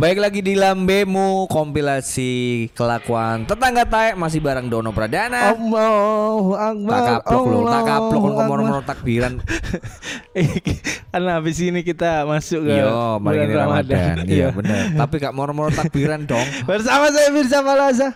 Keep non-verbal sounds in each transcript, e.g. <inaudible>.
Baik lagi di Lambemu kompilasi kelakuan tetangga taek masih bareng Dono Pradana. Allahu Akbar. Ah. tak kaplok lu, tak kaplok Allahu lu Akbar. <laughs> ngomong-ngomong takbiran. Karena habis ini kita masuk ke Yo, Iya, mari Iya, bulan ini Ramadan. Iya, Iya. benar. Tapi gak moro-moro takbiran dong. <laughs> Bersama saya Mirza Falaza.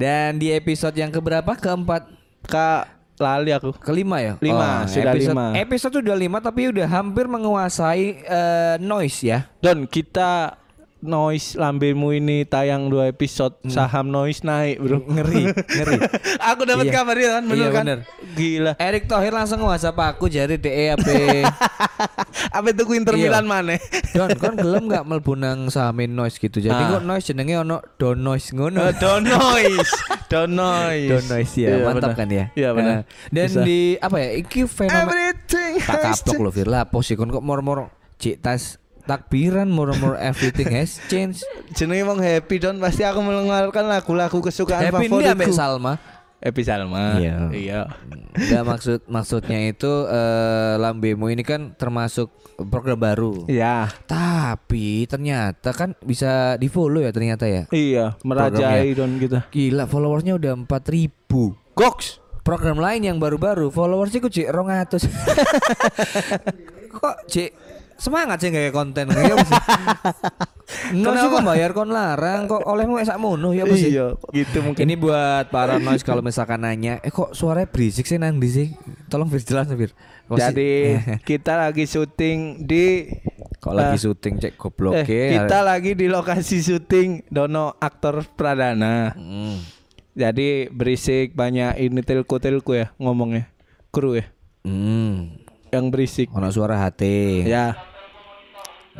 Dan di episode yang keberapa? Keempat Kak lali aku. kelima ya? Lima, sudah episode, lima. Episode udah lima tapi udah hampir menguasai eh, noise ya. Don, kita noise lambemu ini tayang dua episode saham noise naik bro Hmm. <laughs> Ngeri, ngeri. <laughs> aku dapat Iya. kabar ya kan bener Iya, kan bener. gila Erik Thohir langsung WhatsApp aku E jadi DE <laughs> apa apa itu Inter Iya. Milan <laughs> mana Don, kon kan gelem gak melbu nang sahamin noise gitu. Jadi Ah. kok noise jenenge ono don noise ngono. Eh, Don noise Don noise don noise ya, Iya, mantap bener. kan ya. iya benar Nah, dan Bisa. di apa ya? Iki fenomena everything tak has kapok lo Fir lah posisi kon kok mor-mor cik tas takbiran mor-mor everything has changed. jenenge wong happy don pasti aku mengeluarkan lagu-lagu kesukaan Happy ini Kan favoritku. ambek Salma. Happy Salma. Iya. Nah, maksud maksudnya itu eh, lambemu ini kan termasuk program baru. Iya. Tapi ternyata kan bisa di follow ya ternyata ya. Iya, merajai don gitu. kita. Gila followersnya udah 4000 Goks. Program lain yang baru-baru followersnya ku cek <laughs> 200 Kok cek semangat sih kayak konten kayak apa <laughs> sih? Nggak sih kok bayar kon larang kok olehmu sak mono ya apa sih? Iya, gitu mungkin. Ini buat para <laughs> noise kalau misalkan nanya, eh kok suaranya berisik sih nang di sih? Tolong Fir jelas Fir. Kok sih- <laughs> Jadi kita lagi syuting di kok lagi eh, syuting cek goblok ya? eh, kita lagi di lokasi syuting Dono aktor Pradana. Hmm. Jadi berisik banyak ini tilku-tilku ya ngomongnya. Kru ya Hmm. yang berisik. Ono suara hati. Ya.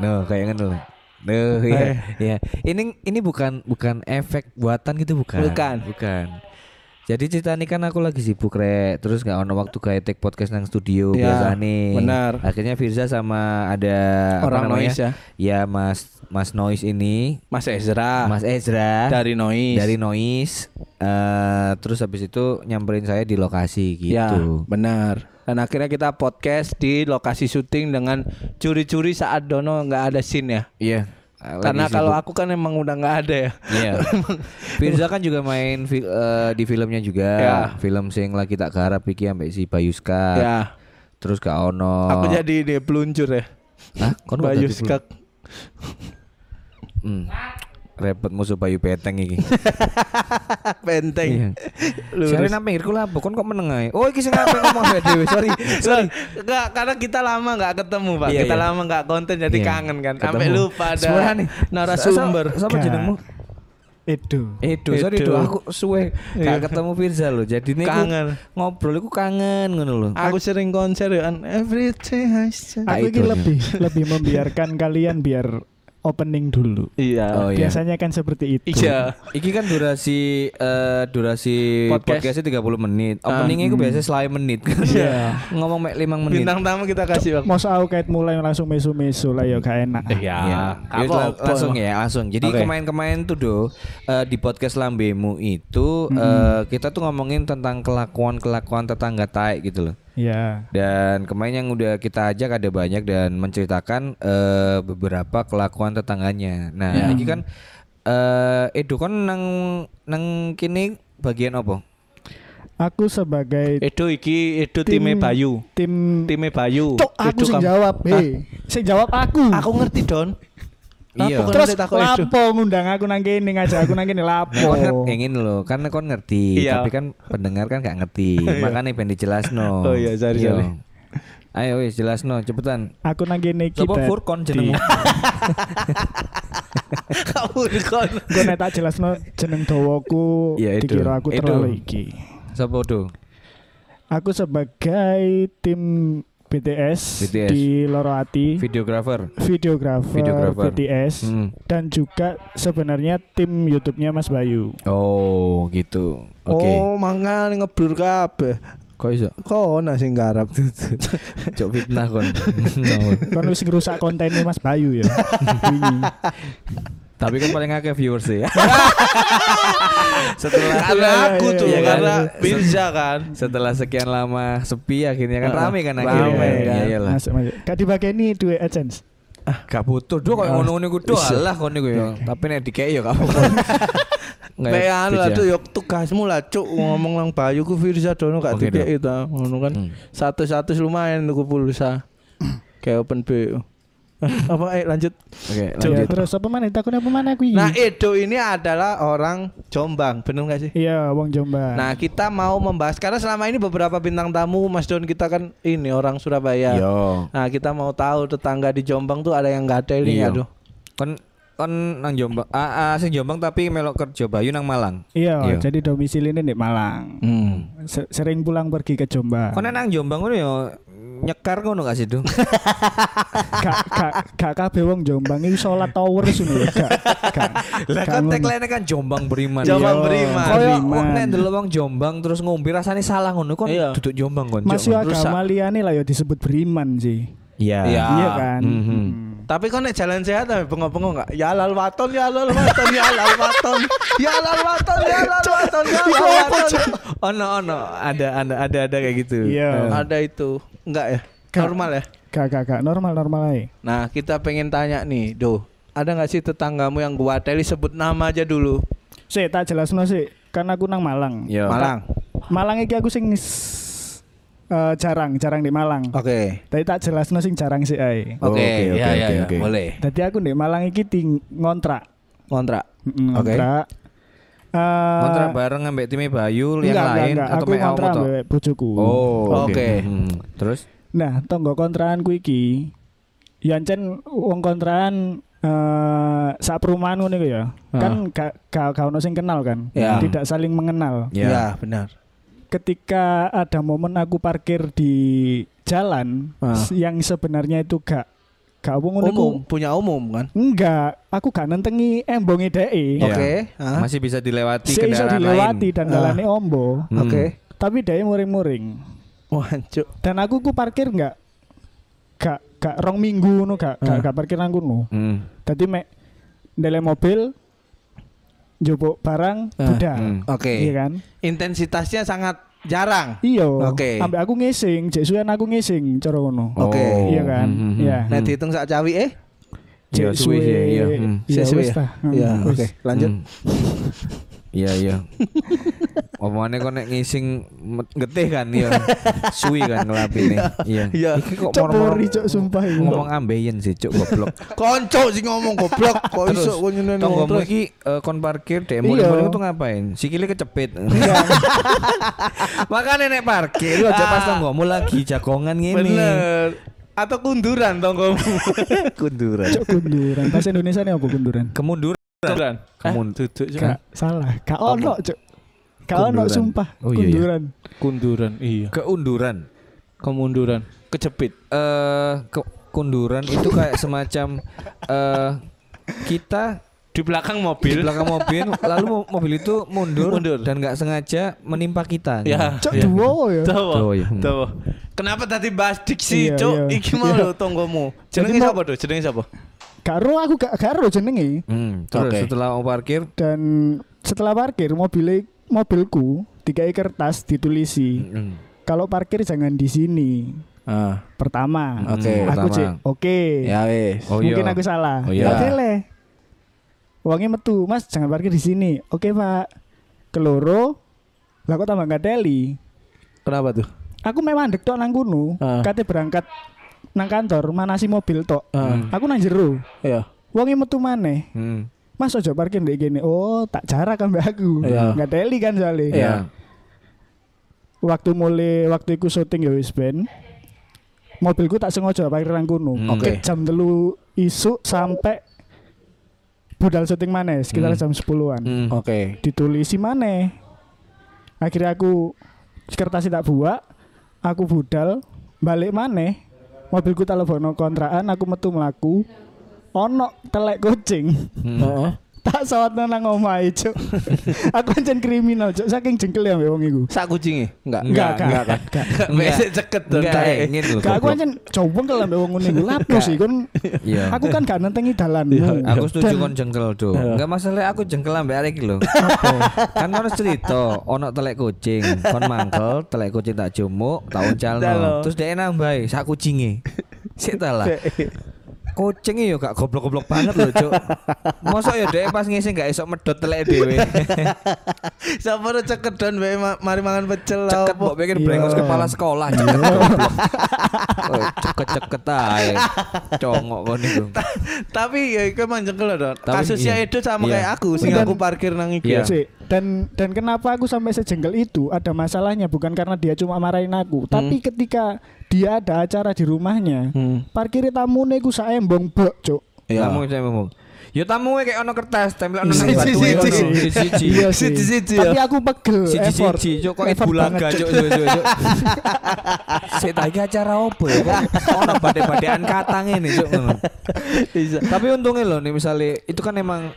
No, Nah, kayak ngono loh. No, Eh. iya, iya. Ini ini bukan bukan efek buatan gitu bukan. Bukan. Bukan. Jadi cerita ini kan aku lagi sibuk rek, terus nggak ono waktu kayak take podcast nang studio Ya, biasa nih. benar. Akhirnya Firza sama ada apa Orang namanya? noise ya. Ya Mas Mas Noise ini, Mas Ezra. Mas Ezra Ah. dari Iya. noise dari Noise. eh, terus habis itu nyamperin saya di lokasi ya gitu. benar dan akhirnya kita podcast di lokasi syuting dengan curi-curi saat Dono nggak ada scene ya Iya. karena lagi kalau sibuk. aku kan emang udah nggak ada ya <laughs> Iya. Firza kan juga main fi- eh, di filmnya juga. Ya. Film sing lagi tak garap iki ambek si Bayuska. ya Terus Kak Ono. aku jadi ini peluncur ya Hah, kon Oh. kok Bayu dadi film? Skak. Hmm. Repot musuh Bayu Peteng iki. <laughs> Iya. Ah, benteng Sore <laughs> lurus nang pinggirku lah, kon kok meneng ae. Oh, iki sing apa ngomong awake dhewe, <laughs> sorry. Sorry. Nggak, karena kita lama nggak ketemu pak Iya, kita iya. lama nggak konten jadi Iya. kangen kan sampai Ketemu. lupa ada Sepura nih. narasumber Sa- sa- Siapa Gak. jenengmu? Edo. Edo, sorry Edo. Edo, aku suwe Iya. gak ketemu Firza loh. Jadi ini Kangen. ngobrol iku kangen ngono loh. aku sering konser ya and everything has changed. Ah, Aku itu ini aja. lebih lebih membiarkan <laughs> kalian biar opening dulu. iya Oh, iya. Biasanya kan seperti itu. iya Iki kan durasi eh, durasi Podcast. podcastnya 30 menit. Ah. Openingnya itu biasanya selai menit. <laughs> Iya. Ngomong mek 5 menit. bintang tamu kita kasih waktu Mau aku kait mulai langsung mesu-mesu lah ya gak enak. Eh, iya. Ya, Yuk, lang- langsung ya, langsung. Jadi Oke. kemarin-kemarin tuh do eh, di podcast Lambemu itu Hmm. eh, kita tuh ngomongin tentang kelakuan-kelakuan tetangga tai gitu loh. Ya. Dan kemarin yang udah kita ajak ada banyak dan menceritakan eh, beberapa kelakuan tetangganya. Nah, Hmm. ini kan eh Edo kan nang nang kini bagian apa? Aku sebagai Edo iki Edo time Tim- Bayu. tim Time Bayu. Cok, aku Edo sing kamu- jawab. Hah? Hei, sing jawab aku. Aku ngerti Don. Iya. Aku ngerti Terus takut Edo. lapo ngundang aku nang kene ngajak aku nang <laughs> kene Nah, kon ngerti Oh. lapo. ingin loh, karena kon ngerti, Iya. tapi kan pendengar kan gak <laughs> ngerti. Makanya pengen dijelasno. Oh iya, sorry, Iya. sorry. Ayo wis jelasno cepetan. Aku nang kene iki. Sopo Dad. Furkon jenengmu? Kamu Don. Gue nek tak jelasno jeneng dawaku Iya, Edo. dikira aku Edo. terlalu iki. Sopo do? Aku sebagai tim BTS, BTS. di Loro Ati. Videographer. videografer, Videografer. BTS Hmm. dan juga sebenarnya tim YouTube-nya Mas Bayu. Oh, gitu. Oke. Oh, mangan ngeblur kabeh. Kok iso? Kok ana sing garap. <laughs> Cok fitnah kon. <laughs> Kan wis ngerusak kontennya Mas Bayu ya. Ini. tapi kan paling akeh viewers ya. <laughs> setelah karena aku tuh Iya, kan? karena Mirza kan. setelah sekian lama sepi akhirnya kan Uh, rame kan rame, akhirnya. kan. Iya, iyalah. Masuk masuk. Kak dibagi ini duit AdSense. Gak butuh do kok ngono-ngono iku do alah kon iku ya. Tapi nek dikek ya gak <laughs> apa-apa. Nggak Iya. ya, Kayak anu lah bijak. tuh yuk tugasmu lah cuk ngomong lang Bayu ku Firza dono gak Oke, titik itu ah. ngono kan. Hmm. Satu-satu lumayan tuku <coughs> pulsa. Kayak open BO. Ah, apa eh lanjut. Oke, Ya, lanjut. terus apa mana? Takutnya apa mana aku? Nah, Iya. Edo ini adalah orang Jombang, bener gak sih? Iya, Wong Jombang. Nah, kita mau membahas karena selama ini beberapa bintang tamu Mas Don kita kan ini orang Surabaya. Yo. Nah, kita mau tahu tetangga di Jombang tuh ada yang gak ada ini Iya. aduh. Kon kon nang Jombang. Ah, ah, sing Jombang tapi melok kerja Bayu nang Malang. Iya. Iya, jadi domisili ini di Malang. Se- Sering pulang pergi ke Jombang. Kon nang Jombang ngono ya nyekar ngono gak sih, Dung? Gak gak gak kabeh wong Jombang iki salat tower sunu. Gak gak. Lah gak kan ngono. tagline kan Jombang beriman. Jombang Iya. beriman. Kaya Beriman. wong nek ndelok wong Jombang terus ngombe rasane salah ngono kon Iya. duduk Jombang kon. Masih Jombang. agama liyane lah ya disebut beriman sih. Iya. Iya. Iya kan? Mhm. Hmm. Tapi kok nek jalan sehat tapi bengong-bengong enggak? Ya lal waton, ya lal waton, ya lal waton. Ya lal waton, ya lal waton, ya Iya, lal waton. Ono ono ada ada ada ada kayak gitu. Eh. Iya. Ada itu. Enggak ya? Enggak. Normal ya? Gak gak gak normal normal aja. Nah, kita pengen tanya nih, Do. Ada nggak sih tetanggamu yang gua teli sebut nama aja dulu? Sih tak jelasno sih. Kan aku nang Malang. Iya. Malang. Malang iki aku sing s- eh, jarang, jarang di Malang. Oke. Tapi tak jelasno sing jarang sih ae. Oh, oke, Oke, ya, oke, ya, oke, ya. oke. boleh. Dadi aku di Malang iki ting ngontrak. Kontrak. Mm, Oke. Ngontrak. Eh, Kontrak bareng ambek timnya Bayul yang enggak, enggak, lain enggak. atau aku mek awakmu ngontrak tok? ambek bojoku. Oh, oke. Oke. Hmm, Terus Nah, tonggo kontraanku iki yancen wong kontrakan eh sak perumahan ngono iku ya. Kan gak ga, ga ono sing kenal kan. Ah. Ya. Tidak saling mengenal. ya. Ya, benar. Ketika ada momen aku parkir di jalan Ah. s- yang sebenarnya itu gak gak wong ngono iku. Umum, punya umum kan? Enggak, aku gak nentengi embonge dhek. Ya. Oke. ah, Masih bisa dilewati Seiso kendaraan lain. dilewati dan Ah. dalane ombo, Hmm. Oke. tapi dhek muring-muring. Wancuk. Dan aku ku parkir enggak gak gak rong minggu ngono gak Ah. gak, gak parkir nang kono. Hmm. Tadi mek dalam mobil njupuk barang Ah, budal. hmm. Oke. Iya kan? Intensitasnya sangat jarang. Iya. Oke. Ambek aku ngising, jek suwen aku ngising cara ngono. Oh, Oke. Iya kan? Hmm, hmm, Iya. hmm. Nah, dihitung sak cawi eh? Iya, Jek suwe sih, iya. suwe- Hmm. Iya, Suwe wis ya? ta. Hmm, Iya, wis. oke. Lanjut. Hmm. Iya iya. Omongane kok nek ngising met- getih kan ya. Suwi kan ngelapine. Iya. Iya. Iki kok Cok moro-moro pori, cok, sumpah iya. ini. Ngomong ambeien sih cuk goblok. Konco sih ngomong goblok kok Terus, Oh, iso kok nyenen Tonggomu terus. iki eh, kon parkir dek Iya. muling-muling itu ngapain? Sikile kecepit. <laughs> Makanya nek parkir lu aja pas tonggomu lagi jagongan ngene. Bener. Atau kunduran tonggomu. Kunduran. Cok kunduran. Bahasa Indonesia nih apa kunduran? Kemunduran. kunduran. Kemun. Duduk Gak salah. Gak ono, Cok. Gak Kunduran. ono sumpah. Oh, iya, iya. Kunduran. kunduran. Iya. Keunduran. Kemunduran. Kejepit. Eh ke- kunduran itu kayak semacam eh kita Di belakang di mobil. belakang mobil lalu mo- mobil itu mundur, Mundur. dan nggak sengaja menimpa kita. Nah, Ya. Cok Iya. ya. duo ya. Tawa. Tawa, iya. Tawa. Kenapa tadi bahas diksi, Iya, Cok? iya. Iki mau lho Iya. tonggomu. Jadi Jenenge mau- siapa, Do? Jenenge siapa? Gak ero aku gak gak ero jenenge. Hmm, terus Oke. setelah mau parkir Dan setelah parkir mobil mobilku dikai kertas ditulisi hmm, kalau parkir jangan di sini. Ah, Pertama, Oke, aku pertama. cek oke. wis. Oh, Mungkin iya. aku salah. Oh, iya. Tak tele. Uangnya metu, Mas jangan parkir di sini. Oke Pak. Keloro, lah kok tambah nggak teli. Kenapa tuh? Aku memang dek tok nang kuno, Ah. kate berangkat nang kantor, mana si mobil tok. Ah. Aku nang jero. Iya. Uangnya metu maneh. hmm, Mas ojo parkir ndek gini. Oh, tak jarak ambek aku. Iya. Nggak teli kan soalnya. Iya. Waktu mulai waktu iku syuting ya wis ben. Mobilku tak sengaja parkir nang kono. Hmm. Oke. Ke Jam telu isuk sampai budal syuting maneh sekitar jam 10-an. hmm. Oke. Ditulisi maneh. Akhirnya aku kertas tak buak, aku budal balik maneh. Mobilku tak lebono kontrakan, aku metu melaku. Ono telek kucing. Hmm. Heeh. tak sawat nang omahe <laughs> cuk aku ancen kriminal cuk saking jengkel ya wong iku Sak kucinge? Enggak. Enggak, enggak, enggak. <laughs> Mesek ceket dong. Enggak tae. ingin loh. Gak aku goblok. ancen coba kalau ambek wong ngene <laughs> iku lapo sih kon Iya. aku kan gak nentengi dalanmu Aku setuju Dan- kon jengkel do. Iya. Enggak masalah aku jengkel ambek arek iki lho. kan kon harus cerita ono telek kucing, kon mangkel telek kucing tak jumuk, tak Dah, lho. uncalno. Terus dia nambahi sak kucinge. Sik ta lah. kucing ya gak goblok-goblok banget loh, Cuk. Mosok ya dhek pas ngising gak esok medot telek dhewe. Siapa ada ceket don bae ma- mari mangan pecel lah, Ceket apa? mbok pikir Iya. brengos kepala sekolah ceket goblok. Oh, Ceket-ceket ae. Congok kon iku. Ta- Tapi ya iku emang jengkel lah, Don. Tapi Kasusnya iya. Edo sama Iya. kayak aku sing Dan- aku parkir nang iki. Iya. Sih, Dan dan kenapa aku sampai sejengkel itu ada masalahnya bukan karena dia cuma marahin aku, Hmm. tapi ketika dia ada acara di rumahnya, Hmm. parkir tamune ku saembong bok, Cuk. Iya. Tamu saya ngomong. Ya tamu kayak ono kertas, tempel Iya, ono nang Siji, batu siji. ngono. Siji. Iya sih. Siji-siji ya. Tapi aku pegel effort. Siji-siji cuk kok Effort bulaga banget, cuk cuk cuk. <laughs> cuk. Sik tak iki acara opo ya kok ono badai-badaian katang ini cuk ngono. Bisa. <laughs> Tapi untungnya loh nih misalnya itu kan emang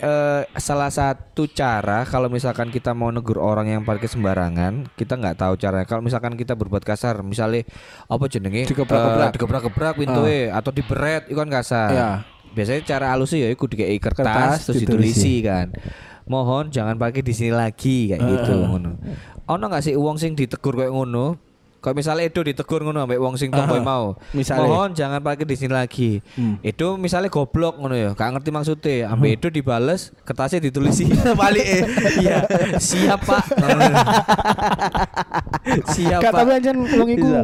eh, salah satu cara kalau misalkan kita mau negur orang yang parkir sembarangan kita nggak tahu caranya kalau misalkan kita berbuat kasar misalnya apa jenenge Digebrak-gebrak. Ah. Eh, digebrak-gebrak pintunya atau diberet itu kan kasar Iya. biasanya cara halusnya ya iku dikei kertas, Kertas, iya. terus ditulisi kan mohon jangan parkir di sini lagi Eh, kayak gitu ngono ono nggak sih uang sing ditegur kayak ngono kalau misalnya Edo ditegur ngono ambek wong sing tomboy Ah, mau misalnya. mohon jangan parkir di sini lagi. Itu misalnya goblok ngono ya, gak ngerti maksudnya. Ambe itu dibales, kertasnya ditulisi. Balik eh. Iya, siap Pak. Ngono. siap Iya, Gak Pak. tapi anjen wong iku Iya.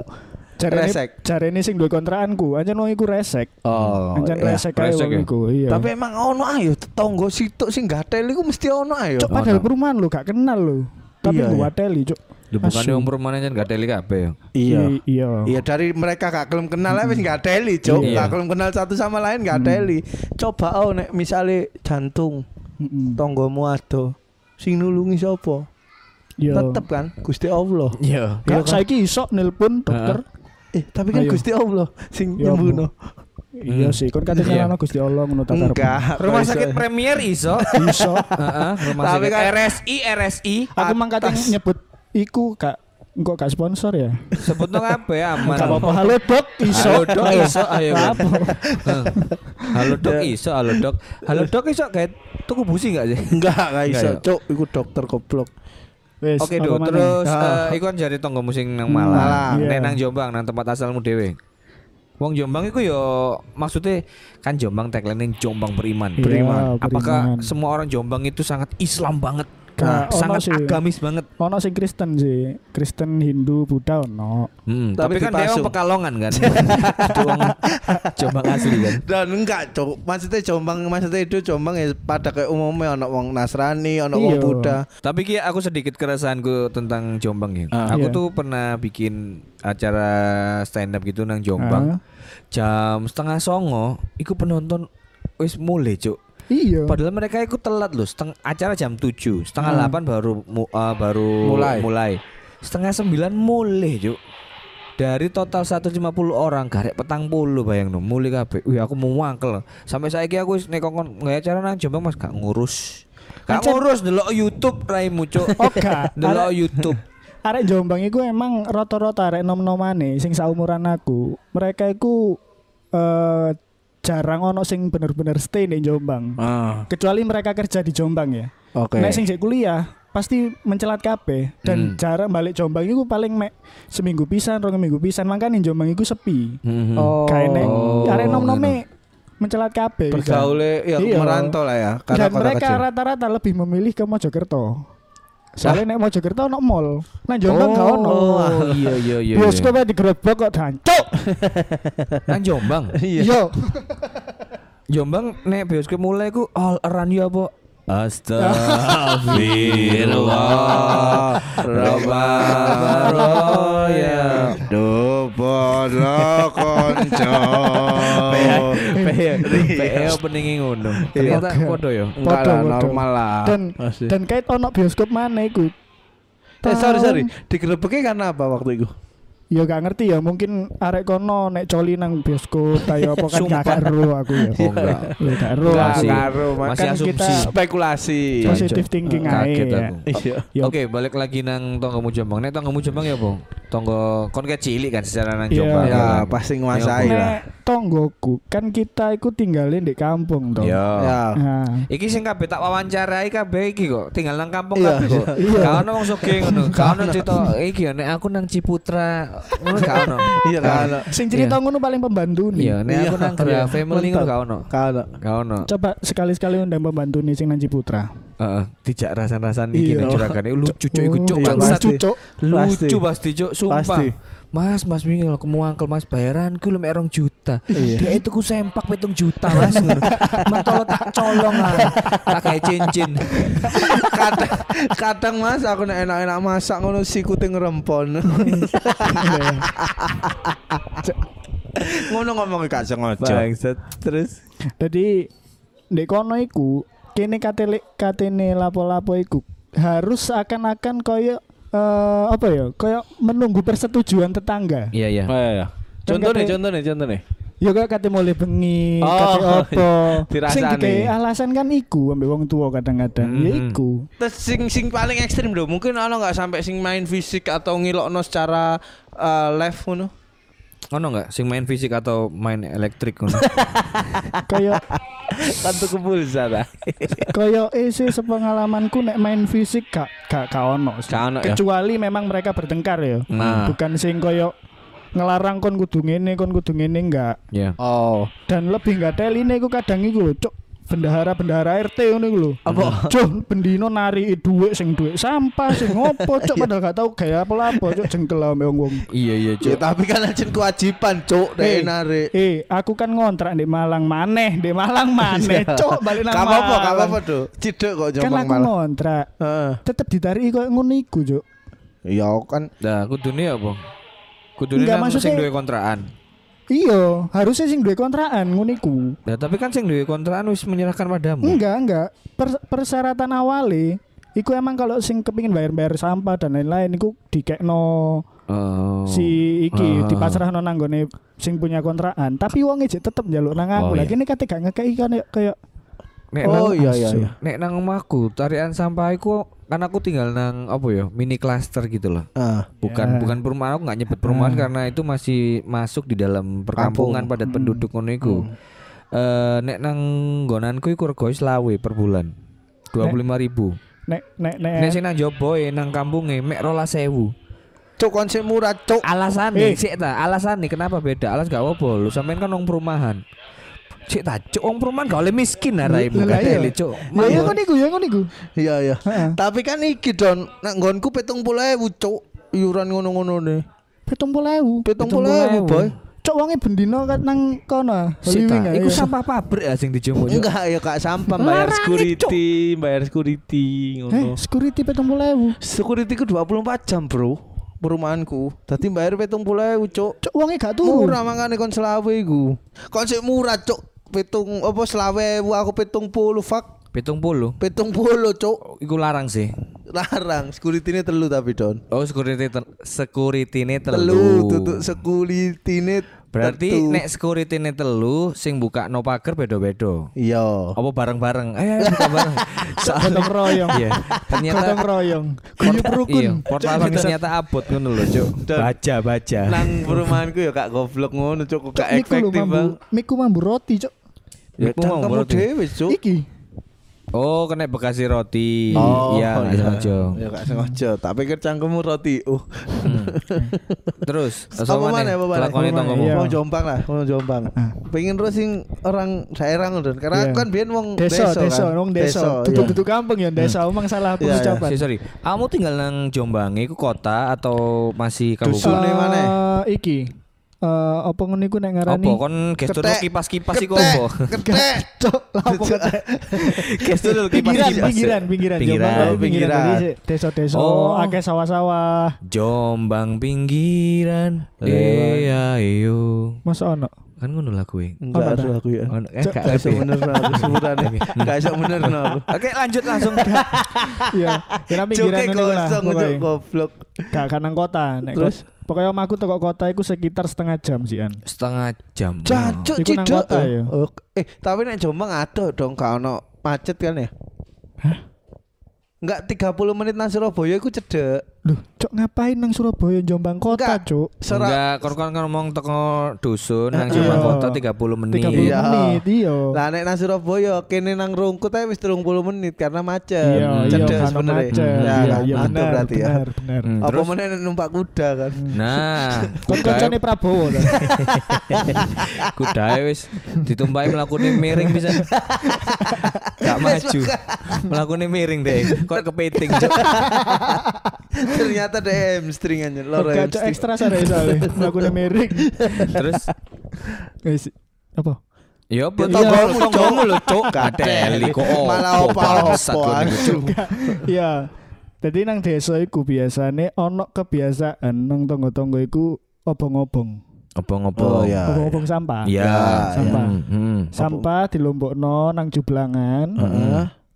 jarene Resek. jarene sing duwe kontraanku, anjen wong iku resek. Oh, anjen iya, resek kae resek wong ya. iku, iya. Tapi emang ono ayo tetangga situk sing gatel iku mesti ono ayo. Cuk padahal perumahan lo gak kenal lo. Tapi Iya, gua iya. wateli cuk. Lu bukan Asu. yang perumahan aja gak teli kabeh ya. I- Iya. Iya dari mereka gak kelem kenal aja wis gak teli, Cuk. Iya. Gak kelem kenal satu sama lain gak teli. Coba oh nek misale jantung Mm-mm. tanggamu ado sing nulungi sapa? Iya. Tetep kan Gusti Allah. Iya. Kak, Iya kan? saiki iso nelpon dokter. Eh, tapi kan Ayo. Gusti Allah sing Ya, nyembuno. Iya sih, kon kate Iya. nyalano Gusti Allah ngono tak karepmu. Enggak. Rumah kok <laughs> sakit iso. Premier iso. Iso. <laughs> Heeh, rumah Tapi sakit kan- RSI RSI Aku mang kate Atas. nyebut iku gak engko gak sponsor ya. sebut no Ah, kabeh aman. Gak apa-apa. Halo dok, iso. Halo dok iso ayo. Gak Bang. apa. Heeh. Halo dok iso, halo dok. Halo dok iso kayak tuku busi gak sih? Enggak, gak iso, Enggak, ya. Cuk. Iku dokter goblok. Wes, Oke apa do, maneh? terus Ah. eh, iku kan jari tonggo musing nang Hmm, Malang, Malang. Nek Iya. nang Jombang nang tempat asalmu dhewe. Wong Jombang iku yo maksudnya kan Jombang tagline Jombang beriman. Iya, beriman. Apakah semua orang Jombang itu sangat Islam banget? Nah, ono sangat sih. agamis banget. ono sing Kristen sih. Kristen, Hindu, Buddha ono. Hmm, Tapi tapi, kan dia dipasung. orang Pekalongan <laughs> kan. Dia orang <laughs> Jombang asli kan. Dan enggak, Cuk. Maksudnya Jombang, maksudnya itu Jombang ya pada kayak umumnya ono wong Nasrani, ono wong Iya. Buddha. Tapi Ki aku sedikit keresahanku tentang Jombang ya. Ah. aku Iya. tuh pernah bikin acara stand up gitu nang Jombang. Ah. Jam setengah songo, iku penonton wis mulai cuk. Iya. Padahal mereka ikut telat loh. Seteng acara jam 7, setengah 8 baru mu- eh, baru Mulai. Setengah 9 mulai, Cuk. Dari total 150 orang garek petang puluh bayang no, mulai kabeh. Wih aku mau wangkel. Sampai saiki aku wis nek kongkon nggak acara nang Jombang Mas gak ngurus. Gak Ancen- ngurus delok YouTube raimu, Cuk. Oh, gak. delok YouTube. Arek Jombang iku emang rata-rata arek nom-nomane sing saumuran aku. Mereka iku eh, jarang ono sing bener-bener stay di Jombang. Ah, Kecuali mereka kerja di Jombang ya. oke. Nek sing jek kuliah pasti mencelat kabeh dan Hmm. jarang balik Jombang iku paling mek seminggu pisan, rong minggu pisan. Makane Jombang iku sepi. Mhm. Oh. Kayak nek Oh, arek nom-nome mencelat kabeh. bisa. Bergaulnya ya Iya. merantau lah ya, karena Dan kota mereka kecil. rata-rata lebih memilih ke Mojokerto. Soalnya nek Mojokerto ono mall. Nang Jombang gak ono. Oh, ah, iya iya iya. Bioskop aja digerobok kok dancuk. Nang Jombang. Iya. Jombang nek bioskop mulai ku all around you apa? Astagfirullah Robaroya Dobono konco. PE opening ngono Ternyata ya. Oke. podo yo Enggak Podo, lah, podo. normal lah. Dan Pasti. dan kait ono bioskop mana iku? eh, sorry Tahun- sorry, digerebeknya karena apa waktu itu? Ya gak ngerti ya, mungkin arek kono nek coli nang bioskop tayo apa kan Sumpah. gak karo aku Oh ya. Iya. enggak Ya gak ero Enggak aku. sih. ngaruh, Masih Kan asumsi kita- Spekulasi. Jangan. Positive thinking aja. Kaget ya. aku Iya. Ya, Oke balik lagi nang tonggomu Jombang Nek tonggomu Jombang ya Bang tonggo kon kayak cilik kan secara nang Iya. Jombang Ya, kan? pasti nguasai Nengok. lah. Nek tonggoku kan kita iku tinggalin di kampung toh. Yo. Ya. Nah, Iki sing kabeh tak wawancarai kabeh iki kok tinggal nang kampung Iya, kabeh kok. iya. Gak ono wong sugih ngono. Gak ono cerita iki ya, nek aku nang Ciputra ngono gak ono. Iya kan. sing cerita ngono paling pembantu nih. Iya, nek aku nang Gra Family ngono gak ono. Kalau Gak ono. Coba sekali-sekali undang pembantu nih sing Nanji Putra. Heeh, dijak rasan-rasan iki Iya. nek curagane lucu cuk iku Oh, cuk iya, bangsat. lucu, Cuk. Pasti. Lucu pasti cuk sumpah. Pasti. Mas, mas bingung aku mau angkel mas bayaranku lu mek 2 juta. Dia itu ku sempak pitung juta mas. Mentolo tak colong lah. Tak kayak cincin. kadang, kadang mas aku nek enak-enak masak ngono sikute ngrempon. Ngono ngomong gak sengaja. Bangsat. Terus Jadi di kono iku kene katele katene lapo-lapo iku harus seakan-akan koyo eh, apa ya? Koyo menunggu persetujuan tetangga. Iya iya. Ya. Oh, iya, iya. Contoh nih, kate- contoh nih, contoh nih. Ya kok kate mulai bengi, Oh, kate opo. dirasani. Sing dikei alasan kan iku ambek wong tua kadang-kadang. Ya Mm. iku. Terus sing sing paling ekstrim loh, mungkin ono nggak sampai sing main fisik atau ngilokno secara eh, live ngono. Ono nggak sing main fisik atau main elektrik <laughs> ngono? <laughs> Kayak Tentu ke Kan pulsa ta. Koyo isi sepengalamanku nek main fisik gak gak gak ono. sih. Gak ono ya? Kecuali memang mereka bertengkar ya. Nah. Bukan sing koyo ngelarang kon kudu ngene kon kudu ngene enggak. Iya. Oh. Dan lebih enggak teline iku kadang iku lho, cuk. Bendahara-bendahara RT ngono iku lho. Apa? Cuk, bendino nariki dhuwit sing dhuwit sampah sing <laughs> ngopo Iya. cuk padahal gak tau gaya apa-apa cuk jengkel lah ambek wong-wong. Iya iya Ya, cuk. tapi kan aja kewajiban, Cuk, Eh, dek narik. Eh, aku kan ngontrak di Malang maneh, di Malang maneh, cuk balik nang Iya. Gak apa-apa, gak Malang. apa-apa, Dok. Cidek kok Kan jombang aku malah. ngontrak, Heeh. tetep ditarik koyo ngono iku, cuk. Ya kan Nah, kudune apa? Kudune Nggak, nang sing maksudnya- duwe kontrakan. Iya, harusnya sing duwe kontrakan ngono iku. Nah, tapi kan sing duwe kontrakan wis menyerahkan padamu. Enggak, enggak. Per- persyaratan awale iku emang kalau sing kepingin bayar-bayar sampah dan lain-lain iku dikekno Oh. si iki Ah. dipasrahno nang nggone sing punya kontrakan, tapi wong ejek tetep njaluk nang aku. Oh, Lah iya. kene kate gak ngekeki kan ya, kayak Nek Oh nang- iya iya asu. iya. Nek nang omahku, tarikan sampah iku kan aku tinggal nang apa ya? Mini cluster gitu loh. Ah. Bukan Ya. bukan perumahan aku nggak nyebut perumahan karena itu masih masuk di dalam perkampungan padat penduduk ngono iku. Eh, nek nang nggonanku iku rego lawe per bulan. 25.000 ribu nek nek nek. Nek sing nang joboe nang kampunge mek 12.000. Cuk kon sing murah, Cuk. Alasane Eh. sik ta, alasane kenapa beda? Alas gak apa-apa. Lu sampean kan wong perumahan. Sik ta, cuk wong perumahan gak oleh miskin arai Lah, bukan lah, iya. tele cuk. Ya iya ngono iku, ya ngono iku. Iya iya. Heeh. Tapi kan iki Don, nek nggonku 70.000, Cuk. Iuran ngono-ngono nih. 70.000. 70.000, Boy. Cok wonge bendino kan nang kono. Sik ta, Liwing, iku iya. sampah pabrik ya sing dijemur cuk. Enggak ya kak sampah bayar Larang, security, bayar security Eh, ngono. security 70.000. Security ku 24 jam, Bro. Perumahanku. Dadi bayar 70.000, Cuk. Cuk wonge gak turu. Murah mangane kon selawe iku. Kon sik murah, Cuk. Pitung apa selawe ewu, aku pitung puluh fuck 70. pitung puluh cuk Iku larang sih. larang security ini telu tapi don Oh, security ter security ne telu. telu tutup security ini Berarti tetu. nek security ne telu sing buka no pager beda-beda. iya Apa bareng-bareng? Eh, buka bareng. <laughs> Soalnya Gotong royong. Iya. Ternyata Gotong royong. Guyub rukun. Iya, portal ternyata abot ngono lho, Cuk. Dan- Baja, baja. nang perumahanku ya kak goblok ngono cuk Cok, gak miku lho efektif mambu, bang miku mambu roti, Cok. ya Iku mau kamu berarti. dewe cuk Iki. Oh, kena bekasi roti. iya, nggak sengaja. Oh, Ya gak sengaja, tak pikir cangkemmu roti. Uh. Terus, Apa mana apa mana? Lakoni Apa tonggomu. mana, iya. Wong Jombang lah, wong Jombang. Ah. Pengen terus sing orang daerah ngono, karena Iya. aku kan biyen wong Desa, kan. desa, wong desa. iya. Duduk-duduk kampung ya desa, omong salah Iya, iya. pengucapan. Si, sorry. Kamu tinggal nang Jombang, iku kota atau masih kabupaten? Dusun. Sune Eh, maneh. Iki. Eh, apa ngono iku nek ngarani? Apa kon gestur Ketek. kipas-kipas iku Ketek, apa? ketek. Cok, lapo ketek. Gestur Pinggiran, pinggiran, Pinggiran. pinggiran, Jombang, Oh, pinggiran. Jadi sik, Desa-desa, Oh. akeh sawah-sawah. Jombang pinggiran. Eh, Eh. ayo. Masa <laughs> ono? Kan ngono lah kue. Enggak Apa ada aku ya. Ngono. Eh, Cok, gak Gak iso ngerti ya? bener aku sebutannya. Gak iso bener aku. Oke, lanjut <laughs> langsung. Iya, kira pinggiran Joke ngono iku lah. kosong pokoknya. cuk goblok. Gak kanang kota, nek Terus? kos- Pokoknya omahku teko kota iku sekitar setengah jam sian. Setengah jam. Jancuk Iku nang cidok. kota ya. Oh, Eh, tapi nek Jombang ada dong gak ono macet kan ya? Enggak 30 menit nang Surabaya iku cedek. Duh, cok ngapain nang Surabaya Jombang kota, Enggak. cok? Serak. Enggak, kon kan ngomong teko dusun nang Iya. Jombang Kota 30 menit. 30 Iya. menit, iya. Lah nek nang Surabaya kene nang Rungkut ae wis 30 menit karena macet. Iya, iya, cedek karena sebenarnya. macet. Ya, Iya, kan, iya, macet benar, berarti ya. benar, benar. Hmm, Apa terus, meneh numpak kuda kan. nah, Kon koncone <laughs> Prabowo ta. kudae wis ditumpai melakukan miring bisa gak maju melakukan miring deh kok kepiting Cuk. Ternyata ada hamstring aja, loro Gak cok hamstring. ekstra sare soalnya. Melakukan miring. terus Guys, apa? ya apa Ya, tonggomu tonggomu, Cuk. tonggomu lho cuk Kadeli. kadeli kok opo, Malah bangsat opo-opo, kowe niku, Cuk. Iya. Jadi nang desa iku biasane ono kebiasaan nang tonggo-tonggo iku obong-obong. opo-opo Oh, Ah, Obong-obong sampah. Iya. ya Sampah. hmm, hmm. Sampah dilombokno nang jublangan.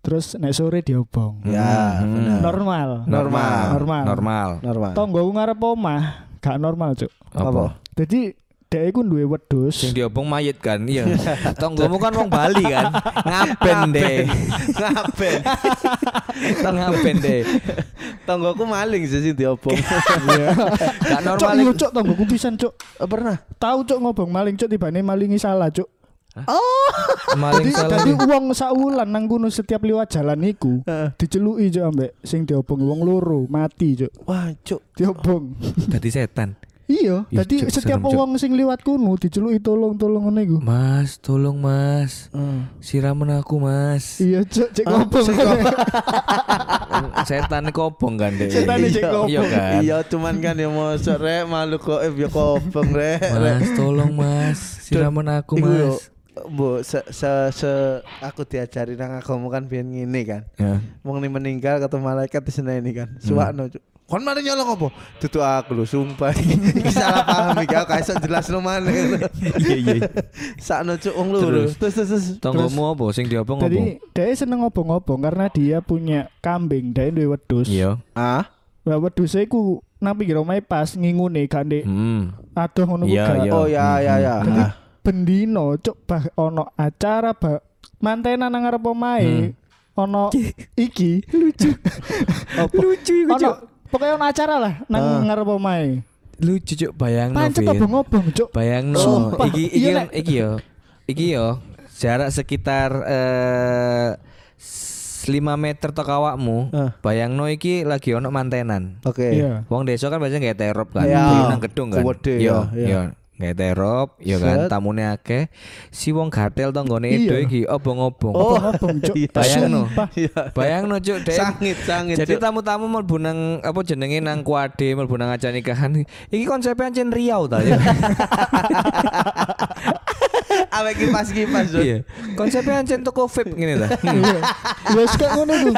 Terus nek sore diobong. Ya, benar. Hmm. Normal. Normal. Normal. normal Normal. Tonggo ngarep omah gak normal, Cuk. apa Jadi dhek iku duwe sing wedhus. diobong mayit kan iya tonggomu kan wong Bali kan ngaben deh Ngaben. <laughs> ngaben deh Tonggoku maling sih sing diobong. Cuk, gak normal iya iku. cuk tonggoku pisan cuk. Oh, Pernah. Tahu cuk ngobong maling cuk tibane malingi salah cuk. Jadi maling salah tadi uang saulan nang kuno setiap liwat jalan iku diceluki cuk ambek sing diobong wong loro mati cuk. Wah, cuk. Diobong. tadi setan Iya, Ih, jadi Cuk, setiap serem, Cuk. uang sing liwat kuno diceluki tolong-tolong ngene iku. Mas, tolong mas, siraman aku mas. Iya cuk cek Ah, ngobong. <laughs> Setan kobong kan deh. Setan cek Iya ngobong. kan. Iya, cuman kan ya mau rek makhluk gaib ya kopeng rek. Mas, tolong mas, siraman aku Iku yo, mas. Bu, se, se, se aku diajari nang agama kan biyen ngene kan. Ya. Wong ni meninggal ketemu malaikat di sana ini kan. Suwakno, Hmm. Cuk. Kon mari nyolong apa? Tutu aku lho, <laughs> sumpah. Iki salah paham iki, aku gak iso jelasno maneh. Iya iya. Sakno Cuk wong loro. Terus. Terus terus terus. Tonggomu apa? Sing diobong apa? Jadi dia seneng ngobong-ngobong karena dia punya kambing, dia duwe wedhus. Iya. Ah, Lah wedhuse iku nang pinggir omahe pas ngingune gandek Hmm. adoh ngono ku Iya, gak. iya. hmm. oh ya ya ya. Jadi Ah. bendino cuk bah ono acara bah mantenan nang ngarep omahe Hmm. ono iki lucu. lucu iku ono pokoknya ono acara lah nang Ah. ngarep omahe. Lucu cuk bayang Pancet obong-obong cuk. Bayang Sumpah. Iki iki Iya, kan- Nek. iki yo. Iki yo. Jarak sekitar eh s- 5 meter tok awakmu. Ah. Bayangno iki lagi ono mantenan. Oke. Iya. Wong desa kan biasanya nggak terop kan, Iya. dulu nang gedung kan. Kuwede, Iya, iya. iya. Nggak terop, ya kan Set. tamune akeh. Si wong gatel tanggone Iya. edo iki obong-obong. Oh. Obong-obong cuk. <laughs> Iya. Bayangno. Sumpah. Iya. <laughs> Bayangno cuk dek. Sangit sangit. Cuk. Jadi tamu-tamu mlebu nang apa jenenge nang kuade, mlebu nang acara nikahan. Iki konsepnya ancen Riau <laughs> ta Iya, ya. awek kipas kipas Cuk. Iya. Konsepnya ancen toko vape ngene <laughs> ta. Iya. Wes kayak ngono iku.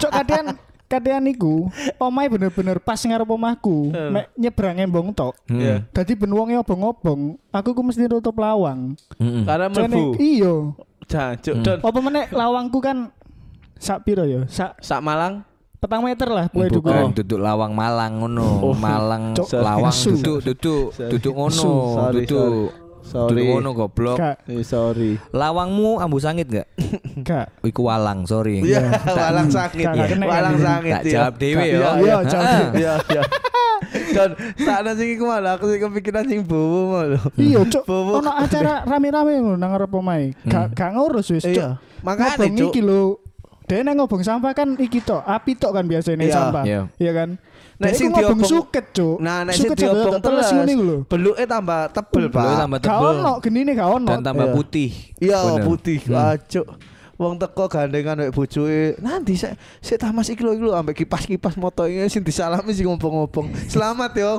Cok kadean kadean iku omahe bener-bener pas ngarep omahku. Mek nyebrang embong tok. Iya. Hmm. Dadi ben wonge obong-obong, aku ku mesti nutup lawang. Mm-mm. Karena Cene mlebu. iyo. Jancuk Hmm. Don. Apa meneh lawangku kan sak piro ya? Sak Sak Malang. petang meter lah kowe Bukan dukur. duduk lawang Malang Oh. ngono, Malang Cok. lawang Sorry. duduk duduk duduk ngono, Su. Sorry, Oh, duduk duduk Sorry. ngono goblok. Gak, Eh, sorry. Lawangmu ambu sangit gak? Hmm. <laughs> gak. Iku walang, sorry. Iya, <laughs> walang sakit. Gak kena Walang kan, sakit. Tak jawab ya. dewe Iya, yo. iya, jawab Ah. dewe. Iya, <laughs> iya. Dan sakno sing iku malah aku sing kepikiran sing bowo malah. Iyo, cok. Bobo. Iya, Ono acara rame-rame ngono nang ngarep omahe. Hmm. Gak gak ngurus wis, cok. Iya. Makane ngobong cuk. iki lho. Dene nek ngobong sampah kan iki tok, api tok kan biasanya Iya. sampah. Iya. Iya kan? Nek Nek sing sing ngobong diobong- suket, Cuk. Nah, nek sing diobong terus terus. ngene iku lho. Beluke tambah tebel, Lu Pak. tambah Gak tebel ono genine gak ono. dan tambah Iya. putih. Iya, Bener. putih. Hmm. Wah, cuk. Wong teko gandengan wek bojoe. Nanti saya saya tamas iki lho iki lho ambek kipas-kipas motoe sing disalami sing ngobong-ngobong. Selamat yo.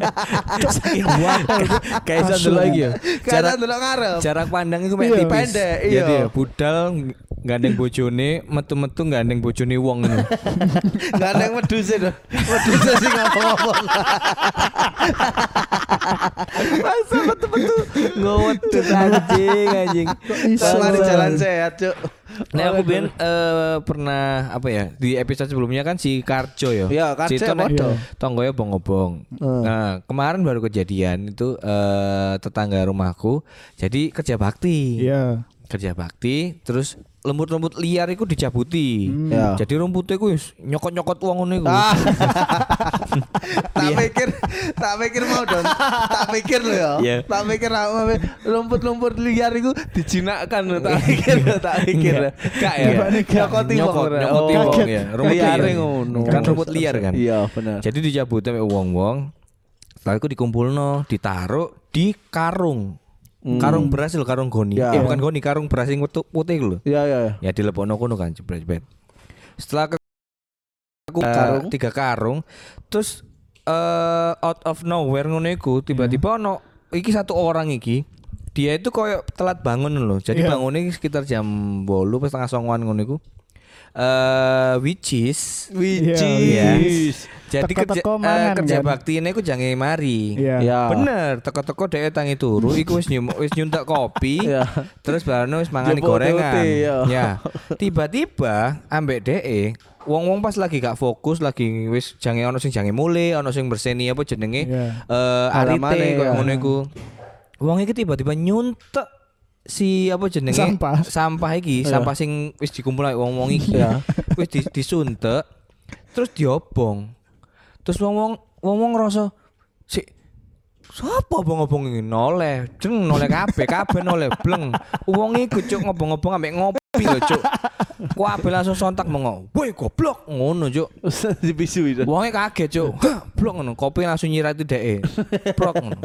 <laughs> Saking <laughs> waduh. Kayak Asu. sandal lagi ya. Karena Jarak delok ngarep. jarak pandang itu mek Iya. tipis. Pendek, iya. Jadi ya, budal ng- gandeng bojone, metu-metu gandeng bojone wong <laughs> ngono. Gandeng wedhuse lho. Wedhuse sing ngobong-ngobong. Masa metu-metu ngowedut anjing anjing. Selamat di jalan sehat, <laughs> cuk. Nah aku ben eh, pernah apa ya di episode sebelumnya kan si Karjo ya. Iya, Karjo si Tone- podo. Tonggonya bong-bong. Nah kemarin baru kejadian itu eh, tetangga rumahku. Jadi kerja bakti. Iya. Kerja bakti terus lembut-lembut liar iku dicabuti. Hmm. Hmm. Ah. Ya. Jadi rumputnya iku wis nyokot-nyokot uang ngono iku. Iya. tak pikir tak pikir mau don tak pikir lo ya Iya. tak pikir aku mau lumpur-lumpur liar itu dijinakkan lo tak pikir lo tak pikir lo gak ya Iya. nyokoti wong Nyokot, ora. nyokoti Oh, wong kaget. ya. Rumput Liar liar. ngono. Kan rumput liar kan. iya bener Jadi dicabuti sampe wong-wong. Setelah itu dikumpulno, ditaruh di karung. Karung beras lho, karung goni. Hmm. Ya. Eh bukan goni, karung beras yang wetu- putih lho. iya iya iya. Ya dilebokno kono kan jebret-jebret. Setelah ke aku, eh, Karung. tiga karung terus eh out of nowhere ngono iku Hmm. tiba-tiba ono iki satu orang iki dia itu koyo telat bangun loh. Jadi Iya. bangunnya sekitar jam 8 pas setengah songoan ngono iku. Eh which is Which Iya. is jadi kerja, Teko-teko eh, mangan, kerja kan? bakti ini aku jangan mari. Iya. Ya. Bener, teko-teko dhek tangi turu iku wis nyum wis nyuntak kopi. Iya. <laughs> Ya. Terus bareng wis mangani Jebol gorengan. teuti, ya. Ya. Tiba-tiba ambek dhek e, wong-wong pas lagi gak fokus lagi wis jange ono sing jange mule, ono sing berseni apa jenenge eh Ya. arite Halamane, koyo ya. ngono iku. Wong iki tiba-tiba nyuntek si apa jenenge Sampah. sampah iki, sampah sing wis dikumpulake wong-wong iki. Ya. <laughs> wis di- disuntek terus diobong. Terus wong-wong wong-wong ngerasa si Sapa obong-obong ini noleh, jeng noleh kabeh, kabeh noleh bleng. Wong iku cuk ngobong-ngobong ambek ngopi lho cuk. Kabeh langsung sontak mengo. Woi goblok ngono cuk. dipisu itu Wonge kaget cuk. Hah, Blok ngono, kopi langsung nyirati dheke. Prok ngono.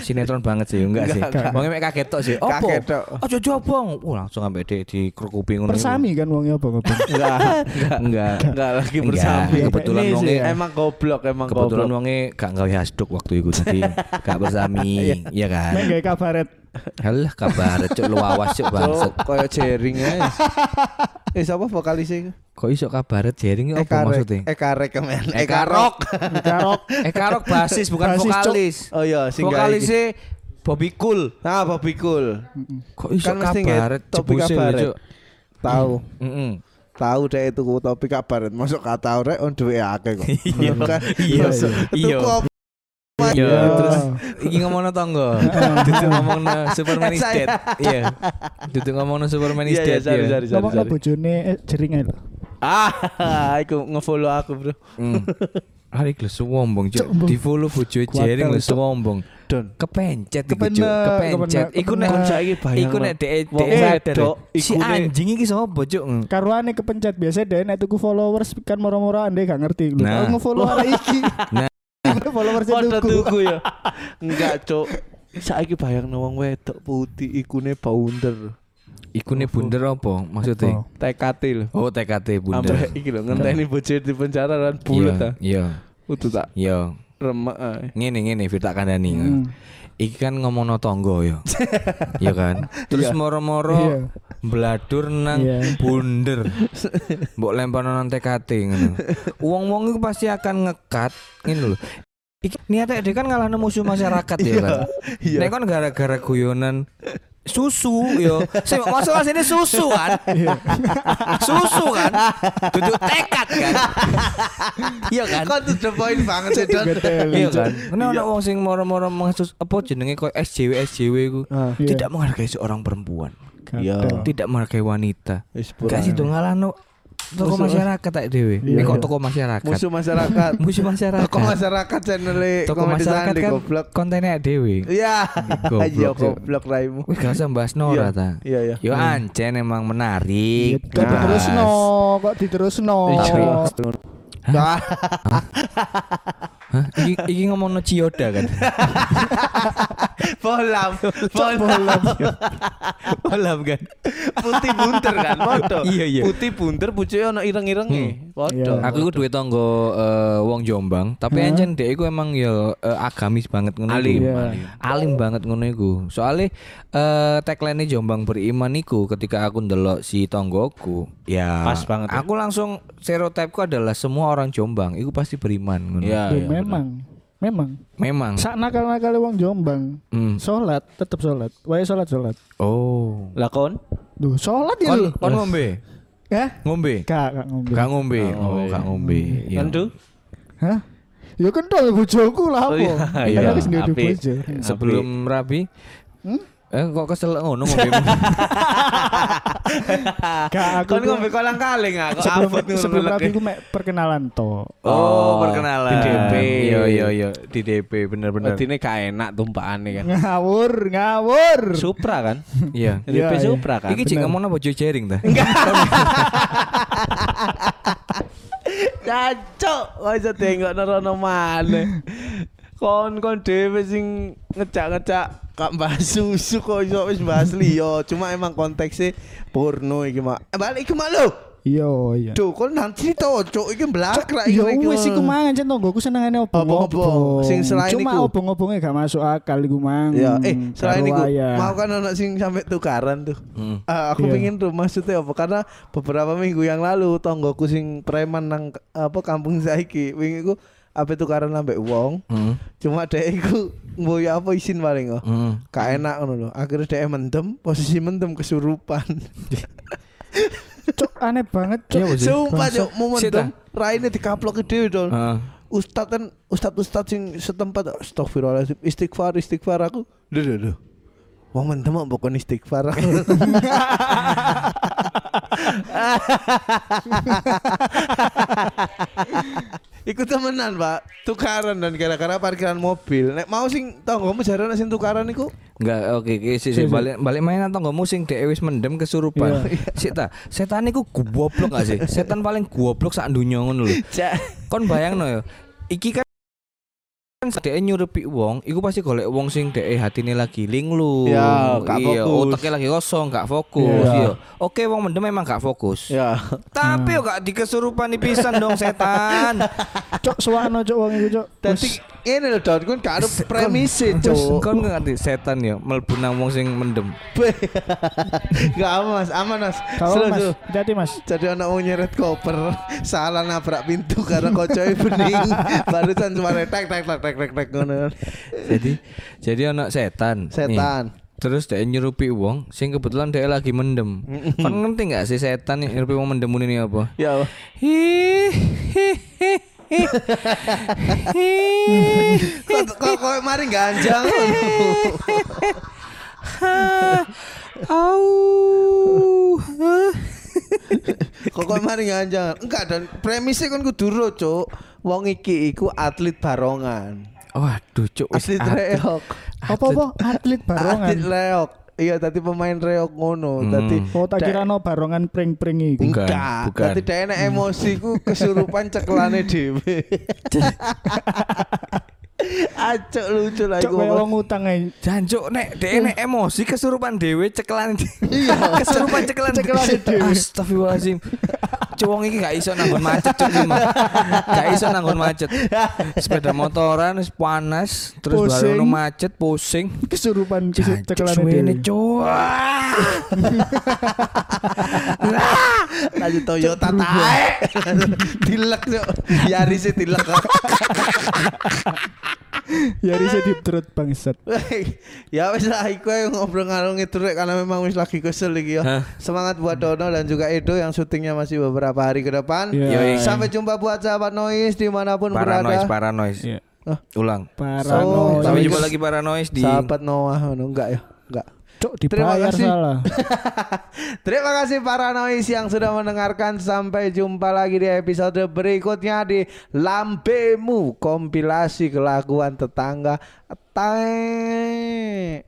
Sinetron banget sih, enggak sih. Enggak, enggak. Wonge mek kaget tok sih. Opo? Kaget tok. Aja jobong. Wah, langsung ambek dhek dikerukupi ngono. Persami kan wongnya apa-apa. <laughs> enggak Enggak. enggak lagi Enggak, bersama kebetulan Ini sih, wongnya- emang goblok emang Kebetulan goblok wonge gak gawe hasduk waktu itu <laughs> jadi gak Iya. bersami, ya kan? Main kayak kabaret. Halah kabar cuk lu awas cuk bangsat. Cuk, kayak jaring <laughs> aja eh siapa vokalisnya Eh, Kok iso kabaret jaring apa Eka Rek maksudnya? Eh, Eka Rek men Eka Rock. Karok. Eka Rock basis bukan Basis, Cuk. vokalis. Oh iya, sing gawe Vokalisnya Bobby Cool. Nah, Bobby Cool. Kok iso Kan mesti nggak kabaret topik jebuse lho, kabaret. Cuk. Tahu. Hmm. Heeh. Tahu deh itu topik kabar. Masuk gak tahu rek on duwe akeh kok. Iya. Kan? Iya, Masuk. iya. Tuku op- Iya, Ya. <laughs> terus iki ngomongno <laughs> tangga. Dudu ngomongno Superman is dead. Iya. Dudu ngomongno Superman is Iya, iya, dead. sorry, iya. sorry, sorry, Ngomong ke sorry. bojone eh, jering aja lho. Ah, <laughs> aku ngefollow aku, Bro. Hmm. <laughs> Hari lu sombong, Cuk. Cuk, Mbong. Di follow bojoe Kuatel, jaring lu Cuk. sombong. Don. kepencet iki Kepenak, Cuk, kepencet. kepenak, Iku nek kepenak. Saiki bayang, iku nek Bang. dhek Wong dhek sadar. wedok, Si ikune- anjing iki sapa Cuk? Karuane kepencet biasa deh nek tuku followers kan moro-moro ande gak ngerti lho. Nah. Aku nge-follow arek iki. <laughs> Nah. Tiba-tiba followers Padha tuku. tuku <laughs> ya. Enggak, Cuk. Saiki bayang wong wedok putih ikune bounder. Ikune bunder apa maksudnya? Apa? TKT lho. Oh TKT bunder. Ambek iki lho ngenteni bojo di penjara lan bulet Nah. ta. Iya, Iya. Udu tak Iya. remek ae. Ngene ngene Fir tak kandani. Hmm. Iki kan ngomongno tangga <laughs> ya. Iya kan? Terus Iya. moro-moro beladur nang Iya. <laughs> bunder. Mbok lempar nang TKT ngono. Wong-wong itu pasti akan ngekat ngene lho. Iki niatnya dia kan ngalahno musuh masyarakat ya Iya, kan. Iya. Nek kan gara-gara guyonan susu yo. Sing masalah sini susu kan. Iya. susu kan. Duduk tekad kan. Iya kan? Kan to the point banget sih, Don. Iya kan? Karena ada orang sing moro-moro mengkhusus apa jenenge kok SJW SJW ku. Ah, iya. Tidak menghargai seorang perempuan, Iya. tidak menghargai wanita. Wis Gak sih dong ngalahno tokoh masyarakat tak dewe. Iya, Eh kok iya. tokoh masyarakat? Musuh masyarakat. Musuh masyarakat. Toko masyarakat channel Tokoh masyarakat kan goblok. kontennya dewe. Iya. Goblok, Iya Cuk. goblok raimu. Wih gak usah bahas Iya, Nora ta. Iya iya. Yo ah. ancen emang menarik. Kok Gas. diterusno, kok diterusno. Oh. Iya. Tapi- Ah, Hah? Iki, iki ngomong no Cioda kan. Bolam, bolam. Malam kan. Putih bunter kan, foto. Iya, iya. Hmm. Putih bunter pucuknya ono ireng-irenge. Foto. Iya. Aku duwe tangga eh, wong Jombang, tapi Hah? ancen dhek iku emang ya eh, agamis banget ngono iku. Alim, Iya. alim. Alim banget ngono iku. Soale eh tagline Jombang beriman iku ketika aku ndelok si tanggoku, ya Pas banget ya. Aku langsung stereotipku adalah semua orang Jombang iku pasti beriman ngono. Ya, Ya, memang. Memang. Memang. Sak nakal-nakal wong Jombang. Hmm. Salat tetep salat. Wae salat salat. Oh. Lah kon? Duh, salat ya Eh? Kon lu. kon ngombe. Hah? Ngombe. Gak, gak ngombe. Gak ngombe. Oh, gak ngombe. Iya. Kendu? Hah? Ya kental bojoku lah Oh, apa? iya, Kan iya. aku sendiri Apik. bojo. Sebelum Rabi Hmm? Eh kok kesel ngono <laughs> ngombemu. Gak aku Kon tuh ngombe kolang kaling aku sebelum abot ngono sebelum leleke. rapi ku mek perkenalan to. Oh, perkenalan. DDP. Iya iya iya, di DP bener-bener. Ini gak enak tumpaan Iya. kan. Ngawur, ngawur. Supra <laughs> kan? Iya. Iya, DP iya. Supra kan? Iki cek ngomong apa Joe Jaring ta? Cacok, kok iso tengok nerono maneh. Kon-kon dhewe sing ngecak-ngecak kak mbah susu kok iso wis bahas liya. Cuma emang konteksnya porno iki mak. Eh, Balik iki mak lho. Iya, iya. Duh, kon nang cerita cuk iki belakrak Ya wis iku mang jan tonggoku senengane obong-obong. Obong-obong. Sing selain Cuma iku. obong-obongnya gak masuk akal iku mang. Ya, eh selain Karo itu wayah. mau kan anak sing sampai tukaran tuh. Hmm. Ah, aku Iya. pengen tuh maksudnya apa? Karena beberapa minggu yang lalu tonggoku sing preman nang k- apa kampung saiki, wingi ku apa tukaran sampai wong. Heeh. Cuma dhek iku mboyo apa isin paling oh. Heeh. Gak enak ngono lho. Akhirnya dhek mendem, posisi mendem kesurupan. Cuk, aneh banget cuk. Oh, Iya, Bos. Sumpah Bangsa. cuk, mau Sita. Ah. mendem, raine dikaplok dhewe dol. Heeh. Ustad kan ustad ustad sing setempat astagfirullahaladzim istighfar istighfar aku lho lho lho Wong mendem kok bukan <laughs> istighfar. Iku temenan, Pak. Tukaran dan gara-gara parkiran mobil. Nek mau sing tanggomu jarane nek sing tukaran iku Enggak, oke, oke, Sih, sih, sih, sih. balik, balik main atau nggak musing deh, wis mendem kesurupan. Iya. <laughs> Sih, ta, setan itu goblok gak sih? Setan paling goblok saat dunia ngono lho. Kon bayang ya, iki kan kan dhek nyurepi wong, iku pasti golek wong sing dhek hatine lagi linglung. Ya, gak iya, fokus. otaknya lagi kosong, gak fokus, Iya. iya. Oke, wong mendem memang gak fokus. ya Tapi yo gak dikesurupan nih pisan dong <laughs> setan. Cuk, suwano cuk wong iku cuk. Dadi ngene lho, Don, kan gak ada premise, Cuk, Cuk. kon nggak ngerti setan ya, mlebu nang wong sing mendem. Gak aman, Mas. Aman, Mas. Slow, Kalau Mas, slow. hati Mas. jadi anak mau nyeret koper salah nabrak pintu karena kocoknya bening <laughs> barusan cuma tek tek tek tek tek tek ngono jadi jadi anak setan. Nih. setan Terus dia nyerupi wong sing kebetulan dia lagi mendem. Kan ngerti nggak sih setan yang nyerupi wong mendem ini apa? ya Allah. Hi, hi, hi, hi. Hi, kok kok kok mari <laughs> ganjang ha, au, ha. kok kok mari ganjang enggak dan premisnya kan kudu ro cuk wong iki iku atlet barongan Waduh, cuk wis atlet atlet- reok Apa-apa atlet barongan. atlet reok iya tadi pemain reok ngono tadi Oh tak kira no barongan pring-pring iku. Bukan, Enggak, bukan. tadi dia enak emosi ku kesurupan ceklane <laughs> dhewe. Acok lucu lah Cuk iku. kaya wong utang ae. Dan cuk nek dia nek emosi kesurupan dewe cekelan. kesurupan cekelan. Iya. Cekelan dhewe. Astagfirullahalazim. Cowong iki gak iso nanggon macet cuk iki, Mas. Gak iso nanggon macet. Sepeda motoran wis panas, terus Pusing. baru ono macet pusing. Kesurupan Jancuk, cekelane suwene, dhewe. cuk. Lanjut Toyota tae. <laughs> Dilek cok. Yaris e dilek. <laughs> kok. Ya rise deep throat bangsat. ya wis lah iku ae ngobrol ngalung itu karena memang wis lagi kesel iki ya. Hah. Semangat buat Dono dan juga Edo yang syutingnya masih beberapa hari ke depan. Iya. Sampai jumpa buat sahabat noise dimanapun Paranois, berada. paranois. Iya. Hah? Ulang. Oh, Paranoid. Sampai tapi- jumpa lagi paranois di Sahabat Noah ngono enggak ya? Enggak. Cuk Terima dibayar kasih. salah. Terima kasih para noise yang sudah mendengarkan. Sampai jumpa lagi di episode berikutnya di Lambemu kompilasi kelakuan tetangga. Tae.